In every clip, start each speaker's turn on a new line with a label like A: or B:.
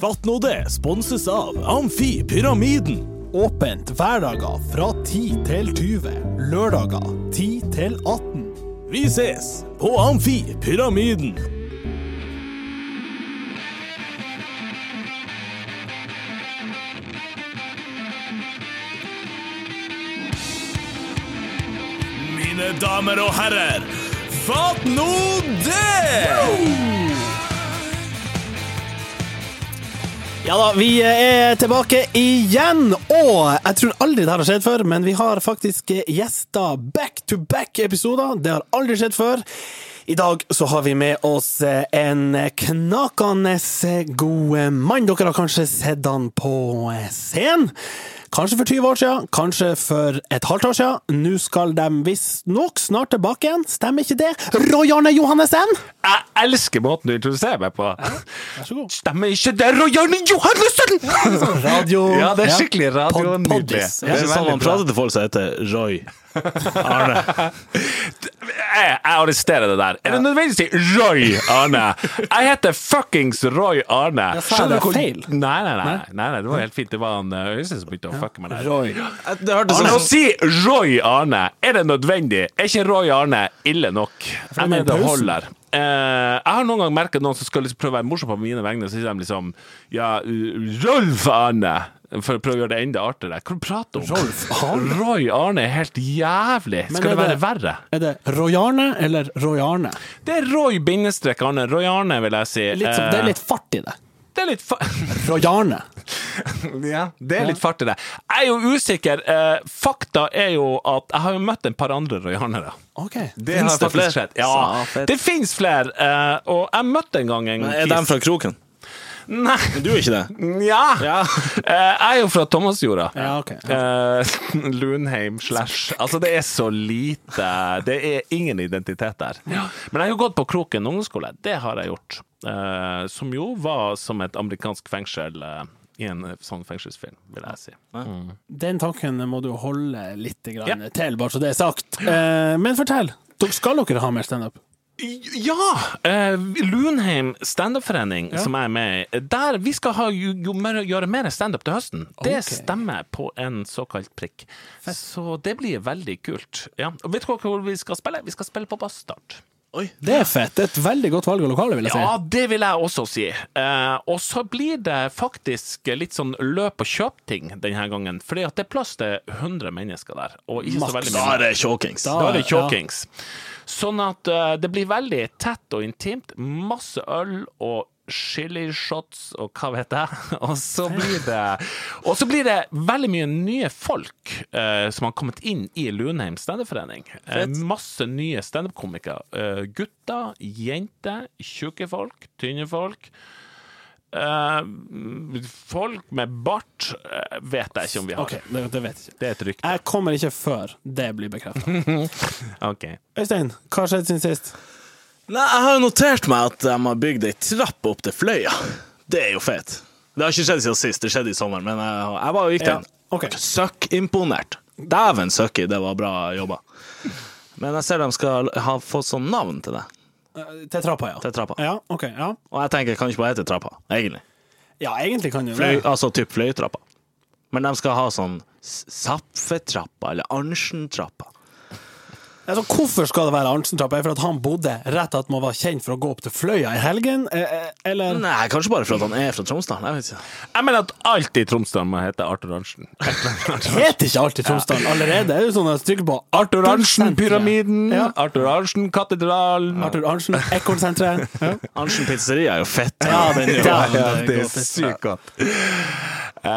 A: Fatt nå det sponses av Amfi Pyramiden.
B: Åpent hverdager fra 10 til 20. Lørdager 10 til 18.
A: Vi ses på Amfi Pyramiden. Mine damer og herrer, fatt nå det!
B: Ja da, vi er tilbake igjen, og jeg tror aldri det her har skjedd før, men vi har faktisk gjester back to back-episoder. Det har aldri skjedd før. I dag så har vi med oss en knakende god mann. Dere har kanskje sett han på scenen. Kanskje for 20 år siden, kanskje for et halvt år siden. Nå skal de visstnok snart tilbake igjen, stemmer ikke det? Roy Arne Johannessen!
C: Jeg elsker måten du introduserer meg på.
B: Vær så god.
C: Stemmer ikke det, Rojarne Johannessen?!
B: Radio
C: Ja, det er skikkelig radio.
B: Pod-
C: Nydelig.
B: poddis.
C: Det er
A: Sånn
C: veldig
A: han
C: bra.
A: prater til folk som heter Roy Arne.
C: Jeg, jeg arresterer det der. Er det nødvendigvis å si Roy Arne? Jeg heter fuckings Roy Arne.
B: sa jeg det
C: du hvor-
B: feil?
C: Nei nei nei, nei, nei. Det var helt fint. Det var han eh, Øystein som begynte å fucke meg der.
B: Roy.
A: Det hørtes
C: Arne, Altså, å si Roy Arne, er det nødvendig? Er ikke Roy Arne ille nok? Jeg mener det
B: pausen.
C: holder. Eh, jeg har noen ganger merket noen som skal liksom prøve å være morsom på mine vegne, så sier de liksom Ja, uh, Rolf Arne! For å prøve å gjøre det enda artigere. Hva prater du om?
B: Rolf Arne?
C: Roy Arne er helt jævlig.
B: Men
C: Skal det
B: er
C: være
B: det-
C: verre?
B: Er det Roy-Arne eller Roy-Arne?
C: Det er Roy bindestrek Arne. Roy Arne, vil jeg si.
B: Litt som-
C: Eh,
B: Det er litt fart i det.
C: det er litt fa
B: Roy-Arne.
C: Ja, det er litt fart i det. Jeg er jo usikker. Eh, fakta er jo at jeg har jo møtt en par andre Roy Arnere.
B: Ok.
C: Det har
A: Finns det
C: faktisk
A: flere?
C: skjedd. Ja, det fins flere. eh, og jeg møtte en gang en
A: Er de fra Kroken?
C: Nei,
A: Du er ikke det?
C: ja. Eh, jeg er jo fra Thomasjorda.
B: Ja, ok.
C: Eh, Lunheim slash Altså, det er så lite Det er ingen identitet der. Men jeg har jo gått på Kroken ungdomsskole. Det har jeg gjort. Eh, som jo var som et amerikansk fengsel eh, i en sånn fengselsfilm, vil jeg si.
B: Den tanken må du holde litt grann
C: Ja.
B: til, bare så det er sagt. Eh, Men fortell. Dere skal dere ha mer standup?
C: Ja! eh, Lunheim standup-forening, som jeg er med i, der vi skal ha, jo, jo mer, gjøre mer standup til høsten. Det
B: Ok.
C: stemmer på en såkalt prikk. Så det blir veldig kult. Ja. Og vet du hva- hvor vi skal spille? Vi skal spille på Bastard.
B: Det er fett. Det er et veldig godt valg av lokale, vil jeg si.
C: Ja, det vil jeg også si. Eh, og så blir det faktisk litt sånn løp og kjøp-ting denne gangen. Fordi at det er plass til 100 mennesker der, og ikke så veldig
A: Da
C: mye.
A: er det Kjåkings.
B: Da-
C: Da er det
B: Ah, Ja.
C: kjåkings. Sånn at eh, det blir veldig tett og intimt. Masse øl og chilishots og hva vet jeg. Og så blir det, og så blir det veldig mye nye folk eh, som har kommet inn i Lunheim standup-forening. Eh, masse nye standup-komikere. Eh, gutter, jenter, tjukke folk, tynne folk. Eh, folk med bart eh, vet jeg ikke om vi har.
B: Ok, det, det vet jeg ikke.
C: Det er et rykte.
B: Jeg kommer ikke før det blir bekrefta.
C: Ok.
B: Øystein, hva har skjedd siden sist?
A: Nei, jeg har jo notert meg at de har bygd ei trapp opp til Fløya. Det er jo fett. Det har ikke skjedd siden sist, det skjedde i sommer, men jeg, jeg var og gikk den.
B: Ja, ok.
A: Søkkimponert. Dæven søkki, det var bra jobba. Men jeg ser de skal ha fått sånn navn til det,
B: Eh, Til trappa, ja.
A: til trappa.
B: Ja, ok, ja.
A: Og jeg tenker, kan ikke bare hete Trappa, egentlig.
B: ja, egentlig kan du jo
A: Fløy,
B: det.
A: altså typ Fløytrappa. Men de skal ha sånn S- Zapfetrappa eller Arntzen-trappa.
B: Altså, hvorfor skal det være Arntzen-trappa? Er det for at han bodde rett at man var kjent for å gå opp til Fløya i helgen? Eh, eh, Eller
A: Nei, kanskje bare for at han er fra Tromsdalen. Jeg vet ikke.
C: Jeg mener at alt i Tromsdalen må hete Arthur Arntzen.
B: heter ikke alltid Tromsdalen allerede? Det er jo sånn at trykker på
C: Arthur Arntzen-pyramiden,
B: Ja.
C: Arthur Arntzen-katedralen
B: Arthur Arntzen, Ekornsenteret. Ja.
A: Arntzen pizzeria er jo fett.
B: Ja, den er jo-
A: Ja,
B: ja,
C: Det er sykt godt. Eh,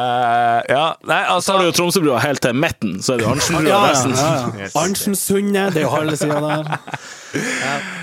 C: ja, nei,
A: Så har du
C: altså
A: jo Tromsøbrua helt til midten, så er sånn. det Arntzen-brua
B: Ja, ja,
A: resten.
B: ja, ja. Arntzensundet, det er jo halve sida der.
C: eh,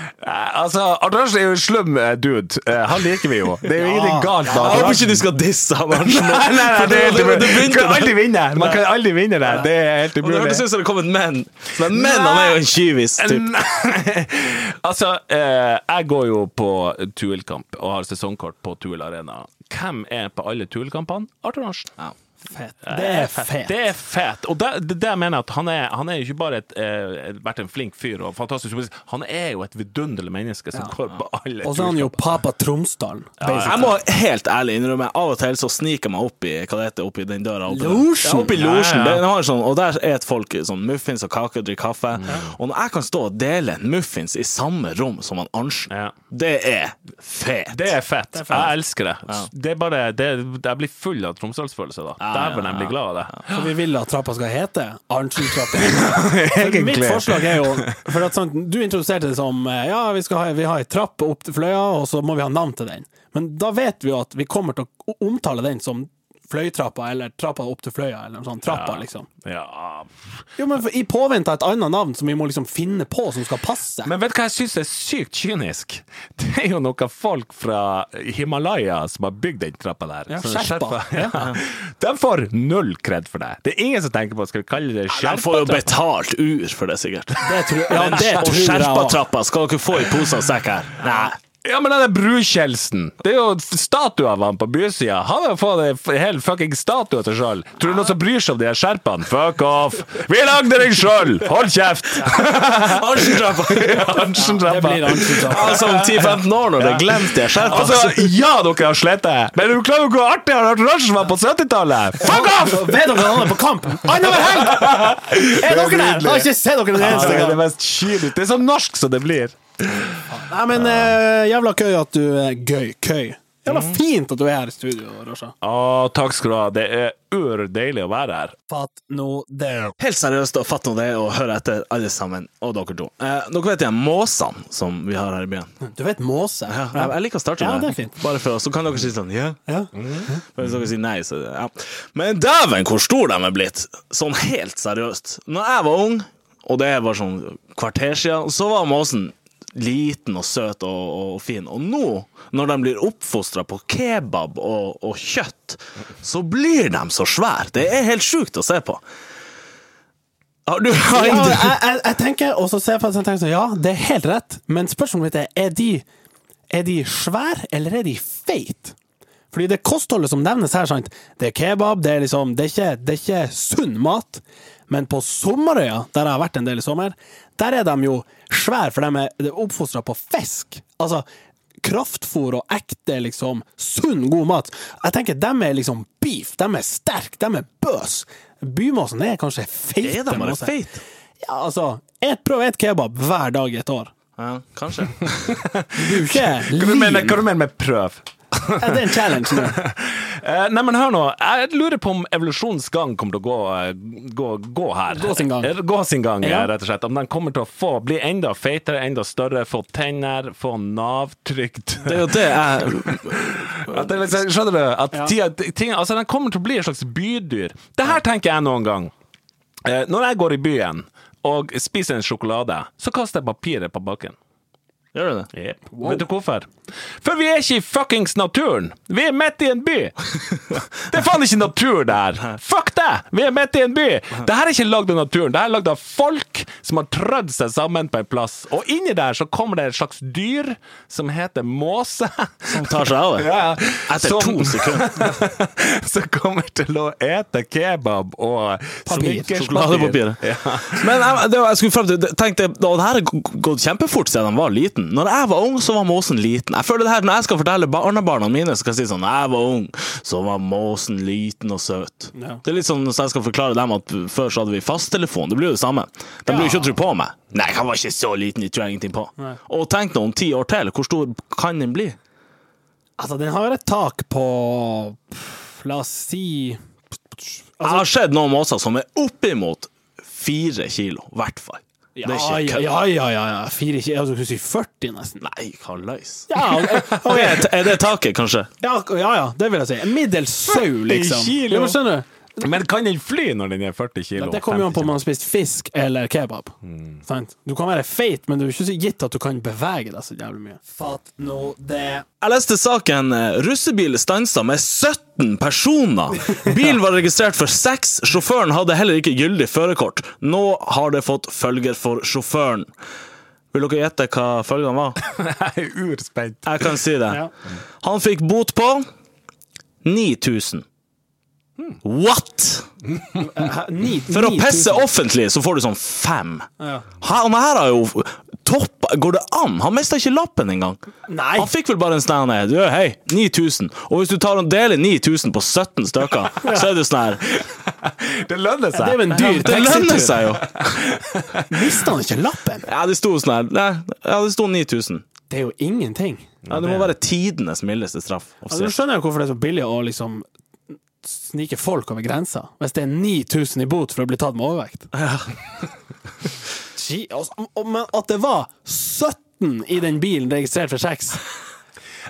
C: Altså, Arthur Arntzen er jo en slum eh, dude. Eh, han liker vi jo. Det er jo ingenting galt med
A: Jeg
C: Arthur
A: håper
C: Arntzen.
A: ikke du skal disse han Arntzen.
C: Nei, nei, nei, det er helt
A: Det
C: umulig.
A: begynte
C: Man kan aldri vinne. Man kan aldri vinne det. Det er helt
A: Og det
C: umulig.
A: hørtes ut som det kom et men. Men men, han er jo en kyvis, typ.
C: Nei. altså, eh, jeg går jo på Tuel-kamp og har sesongkort på Tuel Arena. Hvem er på alle Tuel-kampene? Arthur Arntzen.
A: Ja.
B: Fett. Det er fett.
C: Det er fett. Og det, det, det mener jeg at han er, han er jo ikke bare et, eh, vært en flink fyr og fantastisk journalist, han er jo et vidunderlig menneske som går på alle
B: Og så er han jo Papa Tromsdalen.
A: Jeg må helt ærlig innrømme, av og til så sniker jeg meg opp i hva det heter, opp i den døra. Opp i den-
B: Losjen.
A: Ja, opp i losjen.
C: Ja, ja.
A: Den har en Sånn, og der et folk sånn muffins og kake og drikker kaffe.
C: Mm.
A: Og når jeg kan stå og dele en muffins i samme rom som han Arntzen,
C: Ja.
A: det er fet.
C: Det er fett. Jeg elsker det. Det er bare det, Jeg blir full av tromsdalsfølelse da. Dæven, jeg blir glad av det.
B: Så vi vil at trappa skal hete Arntzen-trappa. For Mitt forslag er jo for at sånn, Du introduserte det som eh, ja, vi skal ha, vi har ei trapp opp til Fløya, og så må vi ha navn til den. Men da vet vi jo at vi kommer til å omtale den som Fløytrappa eller Trappa opp til Fløya, eller noe sånt. Trappa, liksom.
C: Ja.
B: Jo, men for, I påvente av et annet navn som vi må liksom finne på, som skal passe.
C: Men vet du hva jeg syns er sykt kynisk? Det er jo noen folk fra Himalaya som har bygd den trappa der.
B: Ja,
C: Sånne
B: Sherpa.
C: Sherpa. Ja. De får null kred for det. Det er ingen som tenker på skal vi kalle det
A: De får jo
C: Sherpa-trappa.
A: betalt ur for det, sikkert.
B: det tror, ja,
A: Men-
B: det
A: og
B: tror jeg også.
A: Sherpatrappa skal dere få i pose og sekk her. Nei.
C: Ja, men den Brukjeldsen Det er jo statue av han på bysida. Han har jo fått en f- hel fucking statue til sjøl. Tror du noen som bryr seg om de her skjerpene? Fuck off! Vi lagde den sjøl! Hold kjeft!
A: Arntzen-trappa!
C: sånn
B: Det blir
C: Hansen-trappa.
B: Arntzen-trappa.
A: Altså, om 10-15 år, når det er glemt, det er skjerpa.
C: Altså, ja, dere har slettet, men er du klar over hvor artig Arnt Larsen var på 70-tallet? Fuck off!
B: Altså, Vet dere at han er på kamp? Annenhver helg! Er dere der? Jeg har ikke sett dere den eneste
C: Det er
B: gang.
C: det mest kynisk. Det er så norsk som det blir.
B: Nei, men eh, jævla køy at du er gøy. Køy. Jævla fint at du er her i studio, Rosha.
C: Å, takk skal du ha. Det er urdeilig å være her.
B: Fatt nå det.
A: Helt seriøst, og fatt nå det, og hør etter, alle sammen, og dere to. Eh, dere vet de måsene som vi har her i byen?
B: Du vet måse?
A: Ja, jeg, jeg liker å starte
B: Ja,
A: med
B: det er fint.
A: Bare for, så kan dere si sånn ja.
B: Ja.
A: Men Hvis dere sier nei, så ja. Men dæven, hvor stor de er blitt! Sånn helt seriøst. Når jeg var ung, og det var sånn kvarter siden, så var måsen liten og søt og, og fin. Og nå, når de blir oppfostra på kebab og, og kjøtt, så blir de så svære. Det er helt sjukt å se på. Har du
B: Ja,
A: har
B: jeg,
A: du-
B: jeg, jeg tenker, og så ser jeg på det og tenker sånn, ja, det er helt rett, men spørsmålet mitt er, er de, er de svære, eller er de feit? Fordi det kostholdet som nevnes her, sant? det er kebab, det er liksom, det er ikke, det er ikke sunn mat, men på Sommerøya, der jeg har vært en del i sommer, der er de jo svære, for de er oppfostra på fisk. Altså, kraftfôr og ekte, liksom, sunn, god mat. Jeg tenker, de er liksom beef, de er sterk, de er bøs. Bymåsen er kanskje feite.
A: Er de bare
B: måser.
A: feite?
B: Ja, altså, et, prøv et kebab hver dag i et år.
A: Ja, kanskje.
B: Du er jo ikke
C: Hva du mener,
B: liv.
C: hva du mener med prøv?
B: Ja, Det er en challenge nå.
C: Eh, nei, men hør nå. Jeg lurer på om evolusjonens gang kommer til å gå, eh, gå, gå her.
B: Gå sin gang.
C: Eh, Gå sin gang, ja.
B: Ja.
C: rett og slett. Om den kommer til å få bli enda feitere, enda større, få tenner, få navtrykt.
A: Det er jo det jeg
C: At det, er liksom- skjønner du? At tida, ting, altså, den kommer til å bli et slags bydyr. Det her tenker jeg noen gang. Eh, når jeg går i byen og spiser en sjokolade, så kaster jeg papiret på bakken.
A: Gjør du det?
C: Vet du hvorfor? For vi er ikke i fuckings naturen! Vi er midt i en by! Det er faen ikke natur, det her! Fuck det! Vi er midt i en by! Det her er ikke lagd av naturen, det her er lagd av folk som har trødd seg sammen på en plass. Og inni der så kommer det et slags dyr som heter måse.
A: Som tar seg av det?
C: Ja, ja.
A: Etter
C: Som-
A: to sekunder.
C: som kommer til å ete kebab og
B: Papir.
C: snickerspapir.
A: Sjokoladepapiret.
C: Ja.
A: Men jeg, det var, jeg skulle frem til Tenk det, og det her har g- gått kjempefort siden jeg var liten. Når jeg var ung, så var måsen liten. Jeg føler det her, Når jeg skal fortelle barnebarna mine, så skal jeg si sånn Når jeg var ung, så var måsen liten og søt.
B: Ja.
A: Det er litt sånn så jeg skal forklare dem at før så hadde vi fasttelefon. Det blir jo det samme. De blir jo ikke å tro på meg. Nei, han var ikke så liten, de tror jeg ingenting på.
B: Nei.
A: Og tenk nå, om ti år til, hvor stor kan den bli?
B: Altså, den har et tak på pff, La oss si Altså-
A: jeg har sett noen måser som er oppimot fire kilo, i hvert fall.
B: ja,
A: det er ikke
B: ja,
A: kødd.
B: ja, ja, ja. Fire kilo Du skulle si 40, nesten.
A: Nei, hva løs?
B: Ja, ok.
A: Er det- er det taket, kanskje?
B: ja, ja, ja, det vil jeg si. En middels sau, liksom.
C: kilo.
B: Ja, men skjønner du?
C: Men kan den fly når den er 40 kilo?
B: Det kommer jo an på om
C: 50 kilo?
B: man har spist fisk eller kebab.
A: Mm.
B: Sant? Du kan være feit, men det er jo ikke så gitt at du kan bevege deg så jævlig mye. Fatt nå det.
A: Jeg leste saken eh, 'Russebil stansa med 17 personer'. Bilen var registrert for seks, sjåføren hadde heller ikke gyldig førerkort. Nå har det fått følger for sjåføren. Vil dere gjette hva følgene var?
C: Jeg er urspent.
A: Jeg kan si det.
B: Ja.
A: Han fikk bot på 9000. What?! For å pisse offentlig, så får du sånn fem.
B: Ja.
A: Han her har jo toppa Går det an? Han mista ikke lappen engang.
B: Nei.
A: Han fikk vel bare en stand ned. Du, hei, 9000. Og hvis du tar og deler 9000 på 17 stykker, så er det sånn her.
C: Det lønner
B: Det er jo en dyr
A: Det lønner
B: taxitur.
A: seg jo!
B: Mister han ikke lappen?
A: Ja, det sto sånn her. Nei, ja, det sto 9000.
B: Det er jo ingenting.
A: Ja, det må være tidenes mildeste straff.
B: Altså, nå
A: offisielt.
B: skjønner jeg hvorfor det er så billig å liksom snike folk over grensa, hvis det er 9000 i bot for å bli tatt med overvekt. Gi- altså, og- Men at det var 17 i den bilen registrert for sex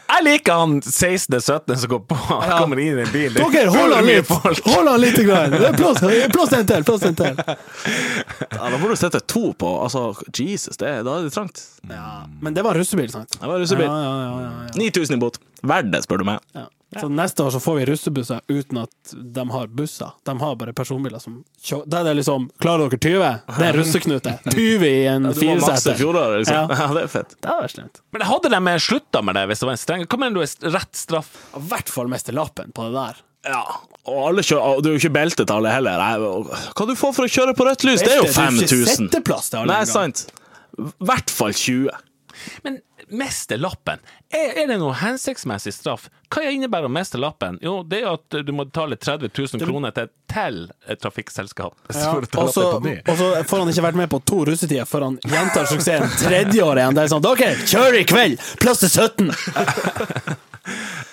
C: Jeg liker han 16.-17. som går på. Han kommer inn i en bil. Det-
B: Dere, hold
C: det er
B: an
C: mye
B: litt!
C: folk.
B: Hold an litt grann. Det er Plass plass til en til! Plass til en til!
A: Ja, da får du sette to på. Altså, Jesus, det, da er det trangt.
B: Ja, men det var russebil, sant?
A: Det var russebil.
B: Ja, ja, ja, ja, ja.
A: 9000 i bot. Verdt det, spør du meg.
B: Ja. Så neste år så får vi russebusser uten at de har busser. De har bare personbiler som kjører. Da er det liksom Klarer dere 20? Det er russeknute. 20 i en
A: Du må makse
B: fireseter.
A: fjoråret, liksom.
B: Ja.
A: Ja. det er fett.
B: Det hadde vært slemt.
C: Men hadde de slutta med det hvis det var en streng Hva mener du er rett straff?
B: I hvert fall miste lappen på det der.
A: Ja. Og alle kjører, og det er jo ikke belte til alle heller. Nei, og- hva du får for å kjøre på rødt lys? Det er jo
B: Det er ikke
A: 5000.
B: setteplass til alle
A: Nei,
B: engang.
A: sant. I hvert fall 20.
C: Men miste lappen, er, er det noe hensiktsmessig straff? Hva innebærer å miste lappen? Jo, det er jo at du må betale 30 000 kroner til, til et trafikkselskap.
B: Ja. altså,
C: For å ta
B: Og så
C: lappen på ny.
B: og så får han ikke vært med på to russetider før han gjentar suksessen tredje året igjen. Det er sånn OK, kjør i kveld! Plass til 17!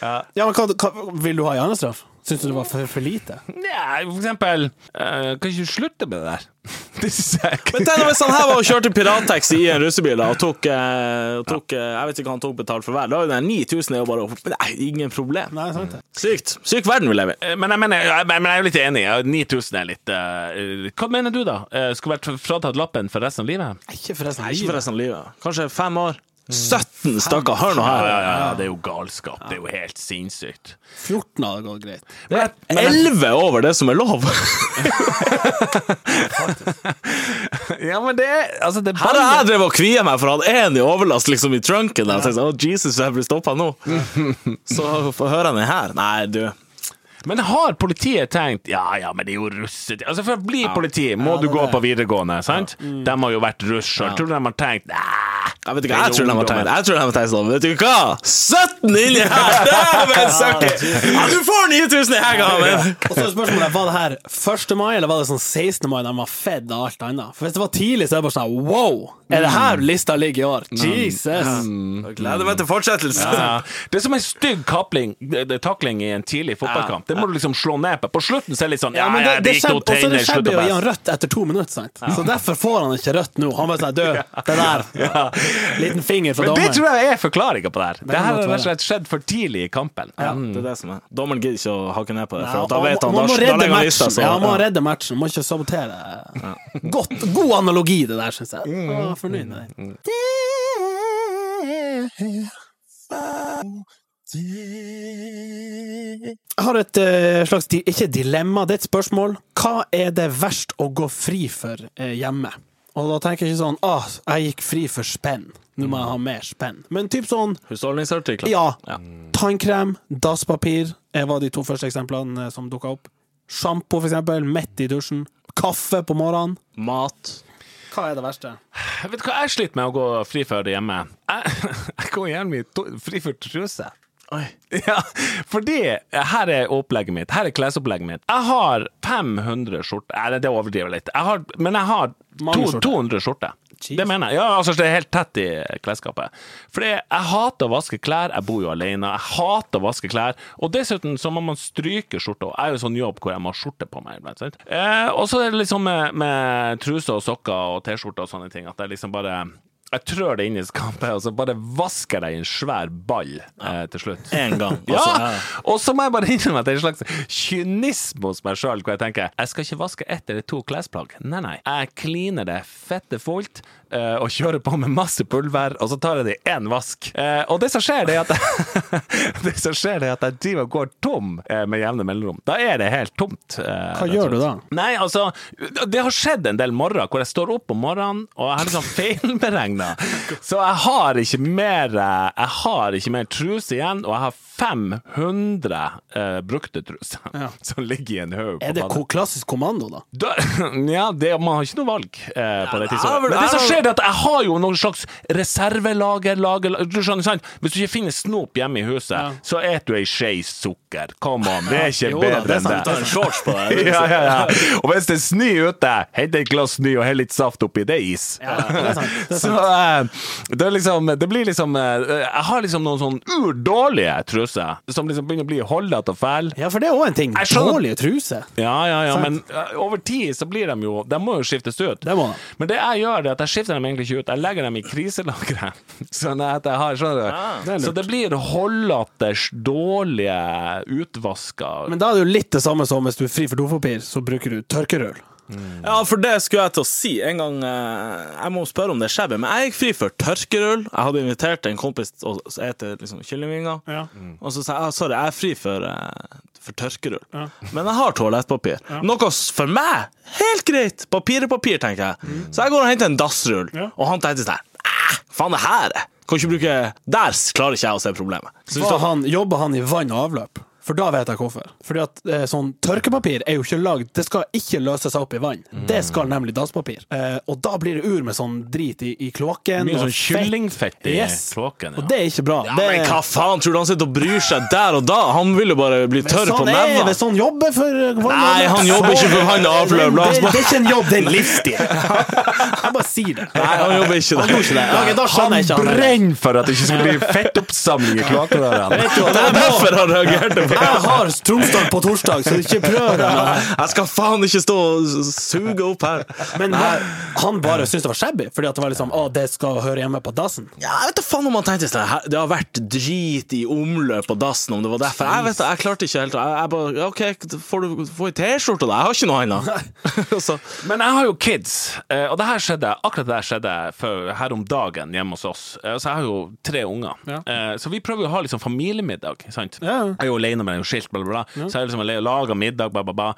B: Ja, men hva, hva vil du ha i annen straff? Syns du det var for, for lite?
C: Nei, for eksempel eh, Kan ikke du slutte med det der? Det synes jeg ikke.
A: Men tenk om hvis han her var og kjørte pirattaxi i en russebil da, og tok, eh, tok eh, Jeg vet ikke hva han tok betalt for hver. Da er jo den 9000 er jo bare Nei, ingen problem.
B: Nei, sant det.
A: Sykt. Syk verden vi lever i.
C: Eh, Men jeg, mener, jeg, men jeg er jo litt enig. ja, 9000 er litt eh, Hva mener du, da? Eh, Skulle vært fratatt lappen for resten av livet?
B: Ikke forresten.
A: Nei, ikke for resten av livet. Kanskje fem år. 17 stakkar, hør nå her.
C: Ah, Det er jo galskap. Det er jo helt sinnssykt.
B: 14 hadde gått greit.
C: Men, men,
A: 11 over det som er lov!
C: ja, men det er altså, det er
A: Her har jeg
C: bare-
A: drevet og kvia meg for han én i overlast liksom i trunken. Der. Så jeg sa, oh, Jesus, jeg blir stoppa nå. Så får høre han den her. Nei, du.
C: Men har politiet tenkt Ja ja, men det er jo russetid Altså For å bli politi må
B: det
C: du
B: er
C: gå
B: det. Mm.
C: på videregående, sant? De har jo vært russ sjøl. Tror du de har tenkt Nei,
A: Jeg vet ikke, jeg tror de har tegnet Jeg tror de har tegnet sånn. Vet du hva? 17 inni her! Dæven søkker! Ja, du får 9000 i helga, men
B: Og så er spørsmålet, Var det her 1. mai, eller var det sånn 16. mai de var fedd av alt annet? For Hvis det var tidlig, så er det bare sånn wow! Er det her
C: Mm.
B: lista ligger i år? Jesus!
A: Jeg Gleder meg til fortsettelsen.
C: Ja. Det er som en stygg kapling, eh, det- det er takling i en tidlig fotballkamp. Det må du liksom slå ned på. På slutten så er det litt sånn Ja,
B: Ja, men
C: ja,
B: det, det
C: det gikk
B: skjeb,
C: noe
B: og så er
C: tegner,
B: det
C: slutt
B: skjebbe
C: å
B: å gi han
C: bæsje.
B: rødt etter to minutter, sant? Så derfor får han ikke rødt nå. Han bare sånn død, det der. Liten finger fra
C: Men det
B: dommeren.
C: tror jeg er forklaringa på det her. Det
B: kan
C: her har
B: godt
C: rett og
B: være.
C: slett skjedd for tidlig i kampen.
A: Det er det som er. Dommeren gidder ikke å hakke ned på det,
B: Ja,
A: for
B: og
A: da
B: Mm. man-
A: vet han
B: man
A: da,
B: må
A: da
B: redde
A: legger han lista.
B: matchen.
A: Så,
B: Ja, man må redde matchen, må ikke sabotere. Godt, god analogi, det der, syns jeg. Jeg var fornøyd med den. Jeg har et eh, slags di- ikke dilemma, det er et spørsmål. Hva er det verst å gå fri for eh, hjemme? Og da tenker jeg ikke sånn ah, jeg gikk fri for spenn, nå må jeg ha mer spenn. Men typ sånn
A: Husholdningsartikler.
B: ja. Tannkrem, dasspapir eh, var de to første eksemplene eh, som dukka opp. Sjampo, for eksempel, midt i dusjen. Kaffe på morgenen.
A: Mat.
B: Hva er det verste?
C: Jeg vet hva jeg sliter med å gå fri for hjemme? Jeg, jeg går gjerne i to- fri for truse.
A: Oi.
C: Ja, fordi her er opplegget mitt. Her er klesopplegget mitt. Jeg har 500 skjorter. Nei, det overdriver jeg litt. Jeg har, men jeg har
B: Mange
C: to,
B: skjorter.
C: 200 skjorter.
B: Jeez.
C: Det mener jeg. Ja, altså, det er helt tett i klesskapet. Fordi jeg hater å vaske klær. Jeg bor jo alene. Jeg hater å vaske klær. Og dessuten så må man stryke skjorta. Jeg er jo i sånn jobb hvor jeg må ha skjorte på meg. iblant, sant? Eh, og så er det liksom med, med truser og sokker og T-skjorter og sånne ting at jeg liksom bare jeg trør det inn i skapet, og så bare vasker jeg det i en svær ball eh, til slutt.
A: Én gang. Altså,
C: Ja! Og så må jeg bare innrømme at det er en slags kynisme hos meg sjøl, hvor jeg tenker jeg skal ikke vaske ett eller to klesplagg. Nei, nei. Jeg kliner det fette fullt eh, og kjører på med masse pulver, og så tar jeg det i én vask. Eh, og det som skjer, det er at Det som skjer det er at jeg driver og går tom eh, med jevne mellomrom. Da er det helt tomt. eh,
B: Hva gjør du da?
C: Nei, altså, det har skjedd en del morgener hvor jeg står opp om morgenen og jeg har liksom feilberegna Enda. Så jeg har ikke mer eh, Jeg har ikke mer truse igjen, og jeg har 500 eh, brukte truser som ligger i en haug. på
B: Er det
C: badet.
B: ko klassisk kommando, da?
C: Da, ja, det, man har ikke noe valg eh, på
A: Ja,
C: det tidspunktet.
A: men
C: Men det
A: det er
C: som
A: vel-
C: skjer, det er at jeg har jo noen slags reservelager lager, Du skjønner, sant? Hvis du ikke finner snop hjemme i huset, så et du ei skje sukker. Come on, det er ikke
B: Jo da,
C: bedre
B: det er sant.
A: Du tar
C: enn det.
A: en shorts på deg.
C: Ja, ja, ja. Og hvis det er snø ute, hent et glass snø og hell litt saft oppi, det er is.
B: det er sant, det er
C: Så eh, det, er liksom, det blir liksom eh, Jeg har liksom noen sånn urdårlige truser som liksom begynner å bli holdete og fæle.
B: Ja, for det er òg en ting.
C: Jeg skjønner-
B: Dårlige truser.
C: Ja, ja, ja,
B: Sant?
C: men eh, over tid så blir de jo De må jo skiftes ut.
B: Det må de.
C: Men det jeg gjør, det er at jeg skifter dem egentlig ikke ut. Jeg legger dem i kriselageret. Sånn at jeg har Skjønner du?
B: det er lurt.
C: så det blir holdlaters dårlige utvasker.
B: Men da er det jo litt det samme som hvis du er fri for dopapir, så bruker du tørkerull.
A: Ja, for det skulle jeg til å si. En gang eh, Jeg må spørre om det er skjebne, men jeg gikk fri for tørkerull. Jeg hadde invitert en kompis til å spise liksom, kyllingvinger. Og så sa jeg ah, sorry, jeg er fri for, eh, for tørkerull. Men jeg har toalettpapir. Noe s- for meg helt greit. Papir er papir, tenker jeg.
B: Mm.
A: Så jeg går og henter en dassrull, og han tenkte sånn "Æ, Faen, det her er Kan ikke bruke Der klarer ikke jeg å se problemet. Så hvis
B: Var
A: du-
B: han, jobber han i vann og avløp? For da vet jeg hvorfor. Fordi at eh, sånn tørkepapir er jo ikke lagd Det skal ikke løse seg opp i vann. Det skal nemlig dasspapir. Eh, og da blir det ur med sånn drit i, i kloakken.
C: Mye
B: og
C: sånn
B: fett.
C: kyllingfett i
B: Yes.
C: kloakken.
B: Og det er ikke bra.
A: ja,
B: det,
A: men hva faen, tror du han sitter og bryr seg der og da? Han vil jo bare bli tørr
B: sånn
A: på
B: er,
A: nevene.
B: Hvis han jobber for eh, vann og
A: Nei,
B: avløp,
A: han jobber
B: så-
A: ikke for vann og avløp, la oss
B: Det,
A: bare-
B: det er ikke en jobb, det er en livsstil. Jeg bare sier det.
A: Nei, han jobber ikke der.
B: Ok, da
C: sånn
B: skjønner jeg ikke han.
C: brenner for at det ikke skal bli fettoppsamling i kloakkrørene.
B: Vet du hva,
A: Det er
B: det er bra.
A: derfor han reagerte på
B: Jeg har Tromsdal på torsdag, så ikke prøv deg. med det.
A: Jeg skal faen ikke stå og s- suge opp her.
B: Men han, han bare syntes det var shabby, fordi at det var liksom Å, det skal høre hjemme på dassen.
A: Ja, jeg vet da faen om han tenkte sånn her, Det har vært drit i omløp på dassen, om det var derfor. Jeg vet da, jeg klarte ikke helt Jeg, jeg bare ja, OK, får du få ei T-skjorte, da? Jeg har ikke noe annet. Så,
C: Men jeg har jo kids, eh, og det her skjedde akkurat det her skjedde for, her om dagen hjemme hos oss. Eh, Så jeg har jo tre unger. Eh, Så vi prøver jo å ha liksom familiemiddag. Sant?
B: Ja.
C: Jeg er jo alene med en skilt, bla, bla, bla. Så jeg har liksom laga middag, bla, bla, bla.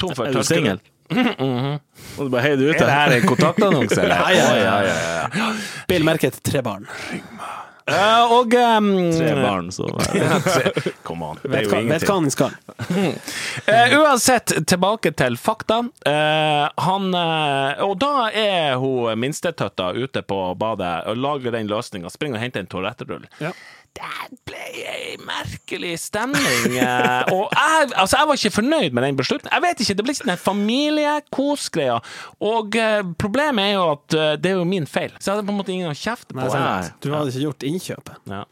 C: Tom for
A: er du singel? Og du bare heier det ut
C: Er det
A: der.
C: her en kontaktannonse, eller?
B: Ja, ja, ja,
C: Oi, oi,
B: Bill merket tre barn.
C: oi. Eh, og ehm,
A: Tre barn, så
C: tre- Come on, det er
B: Vet
C: jo
B: hva, vet hva
C: ingenting.
B: han skal.
C: Eh, uansett, tilbake til fakta. Eh, han eh, Og da er hun minstetøtta ute på badet og lager den løsninga. Springer og henter en toalettrull.
B: Ja.
C: Det ble ei merkelig stemning. eh, og jeg, altså, jeg var ikke fornøyd med den beslutningen. Jeg vet ikke, Det ble ikke den familiekosgreia. Og eh, problemet er jo at eh, det er jo min feil. Så jeg hadde på en måte ingen å kjefte på.
A: sant.
B: Du hadde ikke gjort innkjøpet.
C: Ja.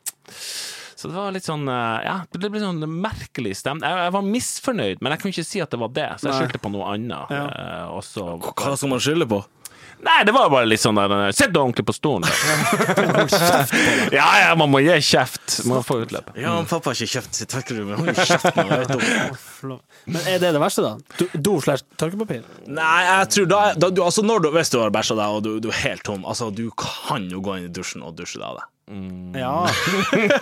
C: Så det var litt sånn eh, Ja, det ble sånn merkelig stemning. Jeg, jeg var misfornøyd, men jeg kunne ikke si at det var det, så jeg
B: Nei.
C: skyldte på noe annet.
B: Ja.
C: eh, og så
A: Hva skal man skylde på?
C: Nei, det var bare litt sånn der eh, Sitt ordentlig på stolen! da. ja, ja, man må gi kjeft. Man får utløp.
A: Ja, han pappa har ikke kjøpt sitt tørkerom. Hold kjeft nå, jeg vet om det.
B: Men er det det verste, da? Do- Do slash tørkepapir?
A: Nei, jeg tror da, da du, altså når du, Hvis du har bæsja deg og du, du er helt tom, altså du kan jo gå inn i dusjen og dusje deg av det.
B: Ja.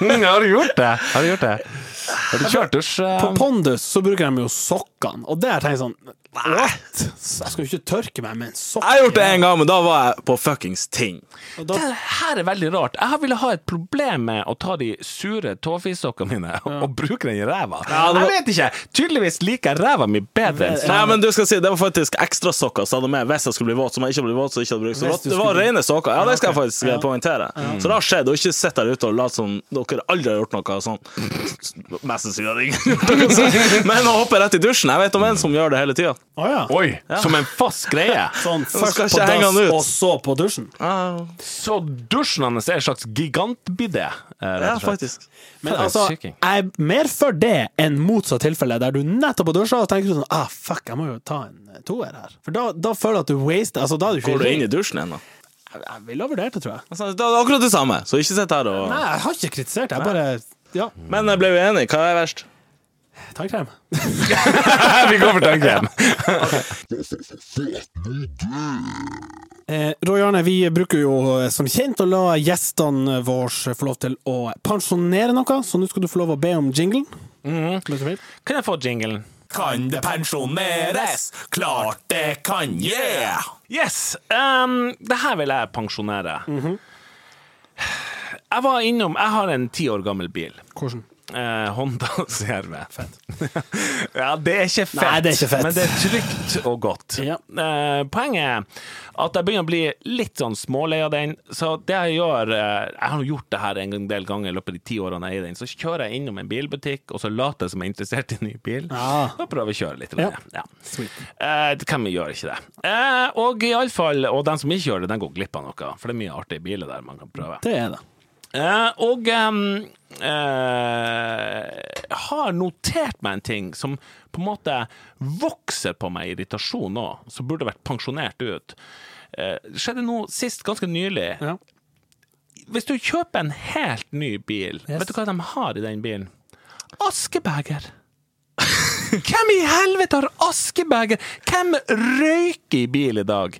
C: Mm, Har du gjort det? Har du gjort det? Har du kjørt dusj? eh,
B: På Pondus så bruker de jo sokkene, og der tenker jeg sånn What? Jeg skal jo ikke tørke meg med en sokk.
A: Jeg har gjort det én gang, men da var jeg på fuckings ting.
B: Og da,
C: Det her er veldig rart. Jeg har ville ha et problem med å ta de sure tåfissokkene mine og bruke den i ræva.
A: det var-
C: Jeg vet ikke! Tydeligvis liker jeg ræva mi bedre enn
A: Nei, men du skal si Det var faktisk ekstra sokker som jeg hadde med hvis jeg skulle bli våt. Som jeg ikke ble våt, så jeg ikke hadde brukt så
B: Hvis
A: våt.
B: du
A: Det var
B: skulle-
A: rene sokker. Ja, det skal jeg
B: ok.
A: faktisk eh, poengtere. Så det har skjedd. Og ikke sitt der ute og lat som dere aldri har gjort noe sånn. Mest sannsynlig har ingen gjort noe sånt. Men å hoppe rett i dusjen Jeg vet om en som gjør det hele tida.
B: Å ja.
C: Oi, som en fast greie.
B: Sånn
A: skal
B: først på
A: ikke henge
B: dass,
A: han ut.
B: og så på dusjen.
C: Så dusjen hans er en slags gigantbidé. eh, rett
A: Ja,
C: og slett.
A: faktisk.
B: Men
C: Faen,
B: altså,
C: syking.
B: jeg er mer for det enn motsatt tilfelle, der du nettopp har dusja og tenker du sånn ah, fuck, jeg må jo ta en eh, toer her. For da, da føler jeg at du waster altså, da er du ikke
A: Går du inn i dusjen ennå?
B: Jeg, jeg ville ha vurdert det, tror jeg.
A: Altså, Det er akkurat det samme, så ikke sitt her og
B: Nei, jeg har ikke kritisert, jeg bare Ja,
A: Men jeg ble uenig. Hva er verst?
B: tannkrem.
C: Vi går for tannkrem.
B: Eh, Roy Arne, vi bruker jo eh, som kjent å la gjestene våre få lov til å pensjonere noe, så nå skal du få lov å be om jinglen.
C: Kan jeg få jinglen?
A: Kan det pensjoneres? Klart det kan, yeah! Mhm.
C: Yes! Um, det her vil jeg pensjonere. Jeg var innom Jeg har en ti år gammel bil.
B: Hvordan?
C: Eh, Honda CRV. Fett. ja, det er ikke fett,
B: Nei, det er ikke fett.
C: men det er trygt og godt.
B: Ja.
C: Eh, poenget er at jeg begynner å bli litt sånn smålei av den, så det jeg gjør eh, Jeg har jo gjort det her en gang- del ganger i løpet av de ti årene jeg eier den, så kjører jeg innom en bilbutikk, og så later jeg som jeg er interessert i en ny bil,
B: Ja.
C: og prøver å kjøre litt.
B: Ja.
C: Ja. Ja. Eh, det- hvem gjør ikke det? Eh, og i alle fall, og den som ikke gjør det, den går glipp av noe, for det er mye artige biler der man kan prøve.
B: Det er det.
C: Eh, og em, eh, har notert meg en ting som på en måte vokser på meg i irritasjon nå, som burde vært pensjonert ut. Eh, skjedde nå sist, ganske nylig.
B: Ja.
C: Hvis du kjøper en helt ny bil,
B: Yes.
C: vet du hva de har i den bilen? Askebeger! Hvem i helvete har askebeger? Hvem røyker i bil i dag?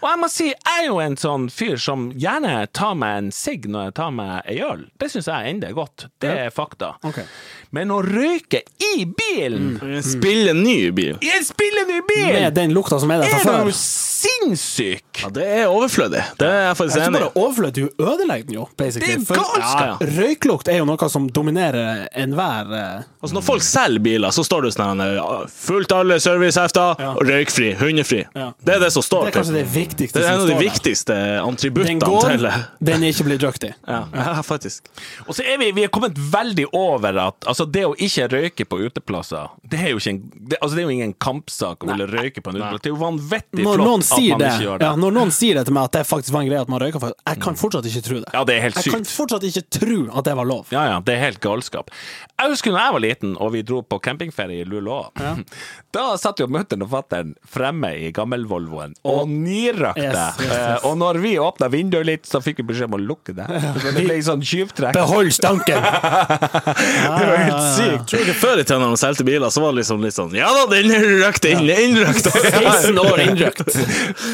C: Og jeg må si, jeg er jo en sånn fyr som gjerne tar meg en sigg når jeg tar meg ei øl. Det syns jeg enda er godt. Det er fakta.
B: Ok. Mm.
C: Men å røyke i bilen!
A: Spille ny bil.
C: I en spillende bil!
B: Med den lukta som er der fra
C: er du
B: før.
C: sinnssyk?
A: Ja, det er overflødig. Det er jeg faktisk
B: Jeg
A: enig
B: tror
A: i.
B: bare overfløt, du ødelegger den jo, basically.
C: Det er
B: For-
C: galskap!
B: Ja, ja. Røyklukt er jo noe som dominerer enhver eh,
A: Altså, når folk selger biler, så står det sånn her, ja, fullt alle servicehefter, røykfri, hundefri.
B: Ja.
A: Det er det som står.
B: Det er kanskje
A: typ.
B: det viktigste
A: Det er en
B: som
A: av de
B: står der.
A: viktigste
B: Den
A: antributtene
B: går,
A: til
B: den er ikke blitt drukket i.
A: ja. ja, faktisk.
C: Og så er vi, vi er kommet veldig over at altså det å ikke røyke på uteplasser, det er jo, ikke en, det, altså det er jo ingen kampsak å ville røyke på en uteplass. Det er jo vanvittig
B: Når noen,
C: flott at
B: sier
C: man
B: det,
C: ikke gjør det. Mm.
B: ja, når noen sier det til meg at det faktisk var en greie at man røyka for Jeg kan fortsatt ikke tro det.
C: Ja, det er helt
B: jeg kan
C: sykt.
B: fortsatt ikke tro at det var lov.
C: Ja, ja, det er helt galskap. Jeg husker da jeg var liten og vi dro på campingferie i Luleå. Da satt jo mutter'n og fatter'n fremme i gammel-Volvoen og nirøkte.
B: Yes, yes, yes.
C: Eh, Og når vi åpna vinduet litt, så fikk vi beskjed om å lukke det. Så Det ble sånn tjuvtrekk.
B: Behold stanken!
C: Det var helt sykt.
A: Tror ikke Før i tida når de solgte biler, så var det liksom litt sånn Ja da, den er røkt inn! Innrøkt!
B: 16 år innrøkt.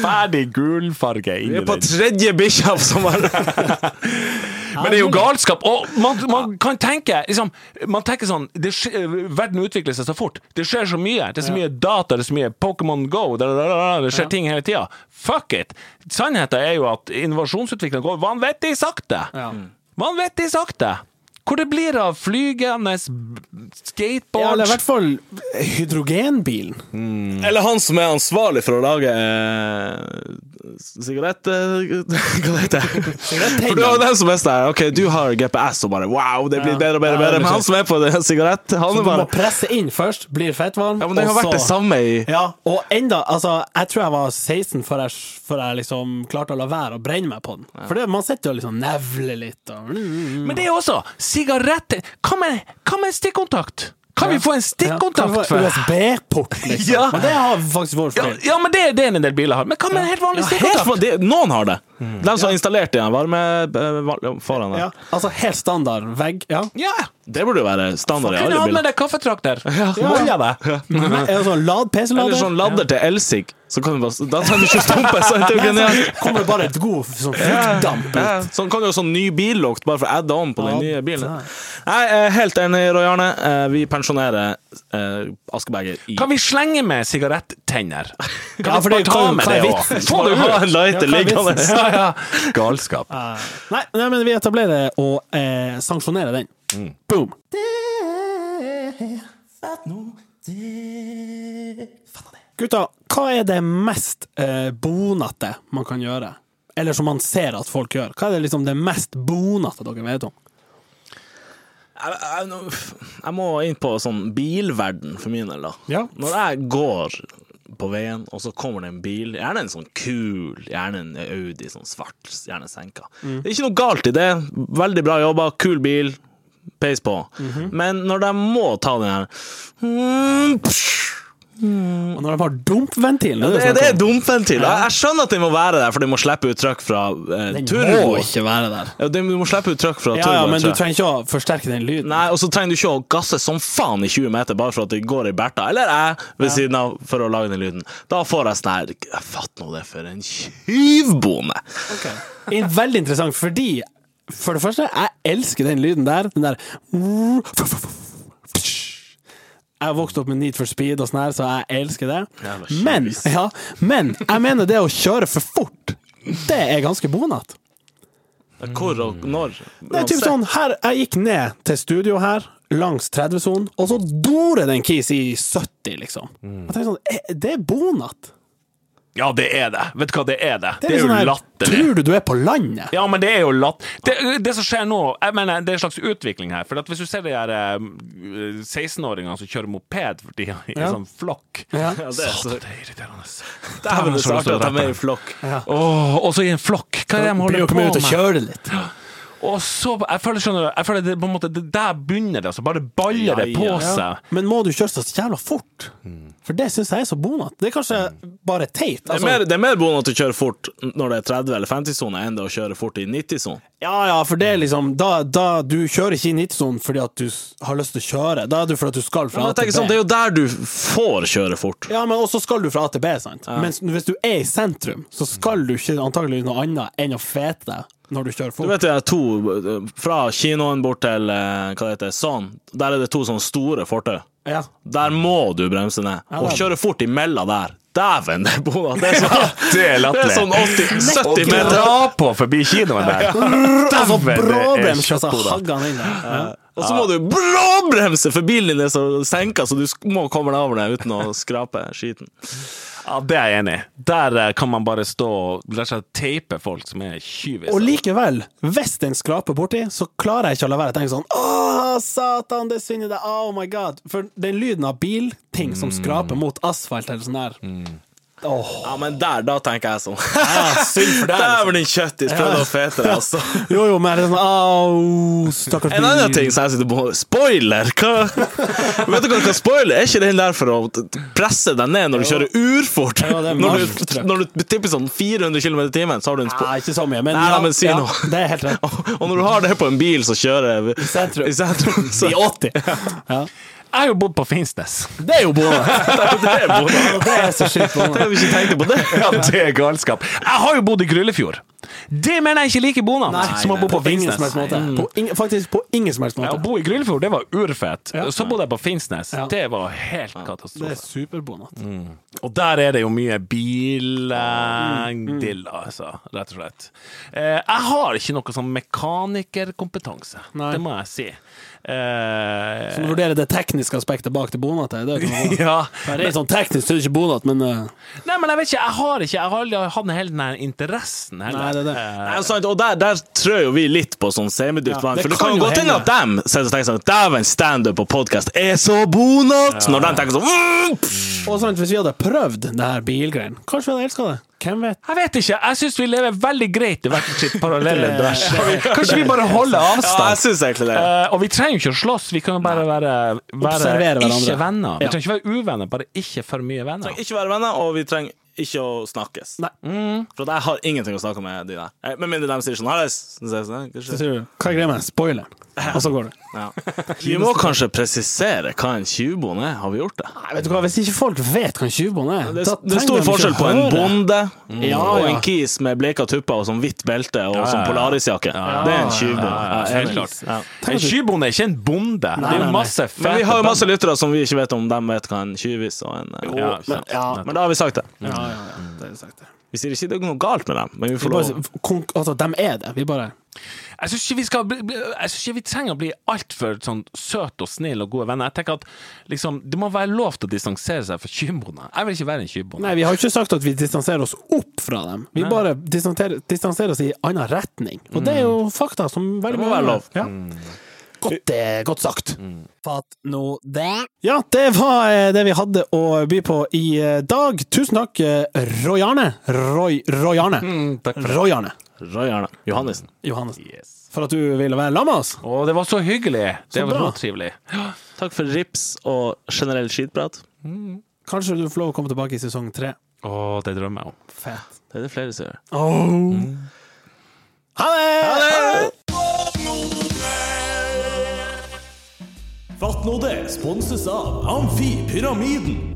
C: Ferdig gulfarge
A: Vi
C: inni
A: er på
C: den.
A: tredje bikkja som har
C: Men det er jo galskap. Og man, man kan tenke liksom, Man tenker sånn det skje, Verden utvikler seg så fort. Det skjer så mye. Det er så mye data, det er så mye Pokémon Go, da, da, da, da, det skjer ting hele tida. Fuck it! Sannheten er jo at innovasjonsutviklinga går vanvittig sakte.
B: Ja.
C: Vanvittig sakte! Hvor det blir av flygende b-
B: Ja, eller i
C: skateboards
B: hvert fall hydrogenbilen.
A: Mm. Eller han som er ansvarlig for å lage eh, sigarett... Eh, hva det heter det? For du har jo den som er sånn her, OK, du har GPS og bare wow, det blir
B: Ja.
A: bedre og bedre,
B: Ja, det
A: bedre.
B: blir
A: Men han
B: sant.
A: som er på det, sigarett,
B: Så
A: han
B: du
A: er bare
B: må presse inn først, blir fettvarm,
A: Ja, men det har
B: og
A: vært det
B: så
A: samme i
B: ja, og enda, altså, jeg tror jeg var 16 før jeg, før jeg liksom klarte å la være å brenne meg på den. For det, man sitter jo og liksom nevler litt og
C: Men det er jo også sigaretter Hva med, hva med stikkontakt? Kan vi få en stikkontakt
B: Ja,
C: for
B: USB-port, liksom.
C: Ja.
B: Men det har faktisk vært
C: Ja,
B: feil.
C: ja, men det, det er en del biler har. Men hva med en helt vanlig
A: Ja, helt,
C: stikkontakt?
A: van- det, noen har det. De som har installert igjen varme eh, val- foran der.
B: Mm. Ja, altså helt standard vegg. Ja.
C: Ja,
A: Det burde jo være standard i
C: kunne
A: alle
C: hatt med
A: biler.
C: deg kaffetrakter.
B: Molde
C: Molja deg.
B: Men er det sånn lad
A: Eller
B: PC-lader?
A: sånn ladder til elsig, så kan du bare Da trenger du ikke stumpe, så er det jo genialt.
B: Kommer det bare et god sånn fruktdamp ut?
A: Ja, Sånn kan du jo sånn ny billukt, bare for å adde om på den
B: Ja,
A: nye bilen.
B: det.
A: Nei, jeg er helt enig, Roy Arne. Eh, Vi pensjonerer eh, Askeberger i
C: Kan vi slenge med sigarettenner? Kan
B: Ja, for
C: vi
B: det
C: bare
B: kan jo-
C: ta med
B: hva er
C: det òg?
B: vitsen?
C: Få det
A: Bare ha en
C: ut!
A: lighter
B: Ja, hva er
A: liggende.
B: vitsen?
C: Ja, ja. Galskap.
B: Eh, Nei, nei, men vi etablerer og eh, sanksjonerer den. Boom! Gutta, hva er det mest eh, bonete man kan gjøre? Eller som man ser at folk gjør? Hva er det liksom det mest bonete dere vet om?
A: Jeg, jeg, nå- jeg må inn på sånn bilverden for min del, da.
B: Ja.
A: Når jeg går på veien, og så kommer det en bil, gjerne en sånn kul, gjerne en Audi, sånn svart, gjerne senka.
B: Mm.
A: Det er ikke noe galt i det. Veldig bra jobba, kul bil, peis på.
B: Mhm.
A: Men når de må ta den her mm, psh,
B: Og når de har dumpventilen
A: det,
B: jo
A: det er
B: snakk om.
A: dumpventil. Jeg, jeg skjønner at den må være der, for den må slippe ut trøkk fra eh,
B: Den
A: turbo.
B: må ikke være der.
A: Ja, den må slippe ut trøkk fra
B: Ja,
A: turboen.
B: ja, men
A: tror
B: du
A: jeg.
B: trenger ikke å forsterke den lyden.
A: Nei, og så trenger du ikke å gasse som faen i 20 meter bare for at det går i berta, eller jeg, ved siden av, for å lage den lyden. Da får jeg sånn her Jeg fatter nå det for en tjuvbonde!
B: Det er veldig interessant, fordi for det første, jeg elsker den lyden der. Den der Jeg vokste opp med Need for Speed og sånn her, så jeg elsker det.
A: Jævla
B: Men,
A: kjøvis.
B: ja, men jeg mener det å kjøre for fort, det er ganske bonat.
A: Hvor og når?
B: Det er typ
A: Uansett.
B: sånn, her, Jeg gikk ned til studio her, langs 30-sonen, og så dorer den Keys i 70, liksom.
C: Mm.
B: Jeg tenker sånn, eh, Det er bonat.
C: Ja, det er det. Vet du hva, det er det. Det er,
B: litt
C: jo
B: sånn her,
C: latterlig.
B: Tror du du er på landet?
C: Ja, men det er jo latt... Det, det som skjer nå, jeg mener, det er en slags utvikling her. For at hvis du ser de her eh, 16-åringene som kjører moped for tida, i
B: Ja.
C: en sånn flokk
B: Ja.
A: Ja, det er så
C: Satan, det er irriterende.
A: Dæven, det er så artig at de er i
C: Åh,
A: flokk.
C: og så i en flokk! Hva er det de
B: Blir
C: holder
B: jo
C: på
B: kommet ut
C: med?
B: og kjøre det litt.
C: Og så, jeg føler, skjønner du, jeg føler det, på en måte, det der begynner det, altså. Bare baller det
A: Ja,
C: på
A: ja.
C: seg.
B: Men må du kjøre så jævla fort?
C: Mm.
B: For det syns jeg er så bonat. Det er kanskje bare teit.
A: Det er,
B: Altså,
A: mer, det er mer bonus å kjøre fort når det er 30- eller 50-sone, enn det å kjøre fort i 90-sone.
B: ja ja, for det er liksom da, da Du kjører ikke i 90-sonen fordi at du s- har lyst til å kjøre, da er det fordi at du skal fra
A: Men
B: A
A: jeg tenker
B: til
A: sånn, Det
B: B.
A: er jo der du får kjøre fort.
B: Ja, men også skal du fra A til B, sant? Mens hvis du er i sentrum,
C: Mm.
B: så skal du ikke antakeligvis noe annet enn å fete deg når du kjører
A: Du
B: fort.
A: vet det er to eh, Fra kinoen bort til eh, hva det heter, sånn, der er det to sånne store fortau.
B: Ja.
A: Der må du bremse ned.
B: Ja,
A: Og
B: det er-
A: kjøre fort imellom der. Dæven, det er bonus! Det er sånn,
C: Det er
A: det er sånn 80-70
C: Å
A: meter.
C: dra på forbi kinoen der.
B: Altså,
C: Dæven, det er
B: bråbrems,
C: kjapt,
B: altså.
C: Oda.
B: Hagga han inn der. Ja.
A: Og så må du bråbremse, for bilen din er så senka, så du sk- må komme deg over det uten å skrape skiten.
C: Ja, det er jeg enig i. Der eh, kan man bare stå og rett og slett teipe folk som er tjuviser.
B: Og likevel, hvis den skraper borti, så klarer jeg ikke å la være å tenke sånn Åh, satan, det svinner deg, oh my god. For den lyden av bilting som skraper mot asfalt eller sånn der Åh,
A: Ja, men der, da tenker jeg sånn.
B: ja, synd for deg.
A: Dæven, din kjøttis! Prøvde å fete deg, altså.
B: Jo, jo, men det er sånn Au, stakkars
A: En annen ting som jeg sitter på Spoiler! Hva? Vet dere hva spoiler er? Er ikke den der for å t- t- presse deg ned når du kjører urfort?
B: Ja, det er
A: Når du,
B: marftruck.
A: når du tipper sånn 400 km i timen, så har du en
B: Nei,
A: spoiler.
B: ikke så mye, men,
A: Nei, nei, men si
B: ja,
A: noe.
B: det er helt rett.
A: Og når du har det på en bil som kjører i
B: sentrum.
A: i sentrum så,
B: I 80. Ja.
C: Jeg har jo bodd på Finnsnes.
B: Det er jo bonus!
A: det er bonus.
B: Det er så sjukt
A: Tenk
B: bonus.
A: om vi ikke tenkte på det.
C: Ja, det er galskap. Jeg har jo bodd i Gryllefjord. Det mener jeg ikke like bonat som å bo på
B: ingen som helst
C: Finnsnes.
B: måte. På ingen, faktisk på ingen som helst
C: Ja,
B: måte.
C: Å bo i Gryllefjord, det var urfett.
B: Ja.
C: Så bodde jeg på Finnsnes.
B: Ja.
C: Det var helt
B: Det er
C: katastrofe.
B: superbonat.
C: Og der er det jo mye
B: Mm,
C: bildilla, altså, rett og slett. Eh, jeg har ikke noe sånn mekanikerkompetanse,
B: Nei.
C: det må jeg si. Eh,
B: Så du vurderer det tekniske aspektet bak det bonat? Det er det
C: ja.
B: Ja, Det er sånn teknisk, så er det ikke bonat, men eh,
C: Nei, men jeg vet ikke, jeg har ikke Jeg har aldri hatt hele den her interessen heller. Eh,
B: Nei, det er det.
A: Nei, og sant, og der, der trør jo vi litt på sånn semidypt vann.
B: det
A: for det
B: kan
A: kan
B: jo
A: jo godt hende
B: hende.
A: at dem sitter og tenker sånn Dæven, standup og podkast er så bonat! Når de tenker sånn mm, pff,
B: Og sånn, hvis vi hadde prøvd det her bilgreien, kanskje vi hadde elska det? Hvem vet?
C: Jeg vet ikke, jeg syns vi lever veldig greit i hvert sitt parallelle univers. Kanskje vi bare holder
A: Ja, jeg
C: avstand?
A: syns egentlig det.
C: Eh, og vi trenger jo ikke å slåss, vi kan jo bare være, være
B: Observere hverandre.
C: ikke venner. Vi
B: Ja.
C: trenger ikke være uvenner, bare ikke for mye venner.
A: Ikke være venner, og vi trenger ikke å snakkes.
B: Nei.
A: For at jeg har ingenting å snakke med de der. Eh, Med mindre de sier sånn Hallis. så sier jeg sånn,
B: Hva
A: kanskje.
B: tror du? Hva er greia med spoileren? Og så går det.
A: Ja. Vi må kanskje presisere hva en tjuvbonde er. Har vi gjort det?
B: Nei, vet du hva, Hvis ikke folk vet hva en tjuvbånd er
A: Det,
B: da
A: det er
B: trenger
A: stor
B: de ikke
A: forskjell
B: å
A: på en
B: høre.
A: bonde
B: Ja,
A: og
B: ja.
A: en kis med bleka tupper og sånn hvitt belte og sånn
C: ja.
A: polarisjakke. Det er en tjuvbonde.
C: altså, helt klart.
A: Ja.
C: En skybonde er ikke en bonde. det er
B: nei, nei.
C: jo masse fete
A: Men vi har jo masse
C: bønder.
A: lyttere som vi ikke vet om de vet hva en tjuvis og en eh,
C: Ja,
A: og- men,
C: sant.
B: ja.
A: men da har vi sagt det.
B: Ja, ja, ja, det er sagt det.
A: Vi sier ikke det er noe galt med dem, men vi
B: Vi
A: får lov.
B: bare, konk, altså, de er det. Vi bare
C: Jeg syns ikke, vi skal bli- bli- jeg synes ikke vi trenger å bli altfor sånn søte og snille og gode venner. Jeg tenker at liksom, Det må være lov til å distansere seg fra tjuvbonde. Jeg vil ikke være en tjuvbonde.
B: Nei, vi har ikke sagt at vi distanserer oss opp fra dem. Vi bare distanserer, distanserer oss i annen retning. Og det er jo fakta som
A: Mm.
B: veldig
A: Det må
B: mange
A: være lov. Mm.
B: Ja. Godt, eh, godt sagt. Fatt nå det. Ja, det var eh, det vi hadde å by på i eh, dag. Tusen takk, eh, Roy Arne. Roy, Roy Arne.
A: Mm.
C: Mm,
B: Roy Arne
A: Roy Arne Johannessen.
B: Johannessen.
C: Yes.
B: For at du ville være sammen med oss.
C: Å, det var så hyggelig! Det
B: Så
C: var
B: bra.
C: så trivelig.
A: Takk for rips og generell skitprat.
B: Kanskje du får lov å komme tilbake i sesong tre.
C: Å, det drømmer jeg om.
B: Fett.
A: Det er det flere som gjør. Oh.
B: Ha det! Ha det!
D: Fatt nå det sponses av Amfi Pyramiden.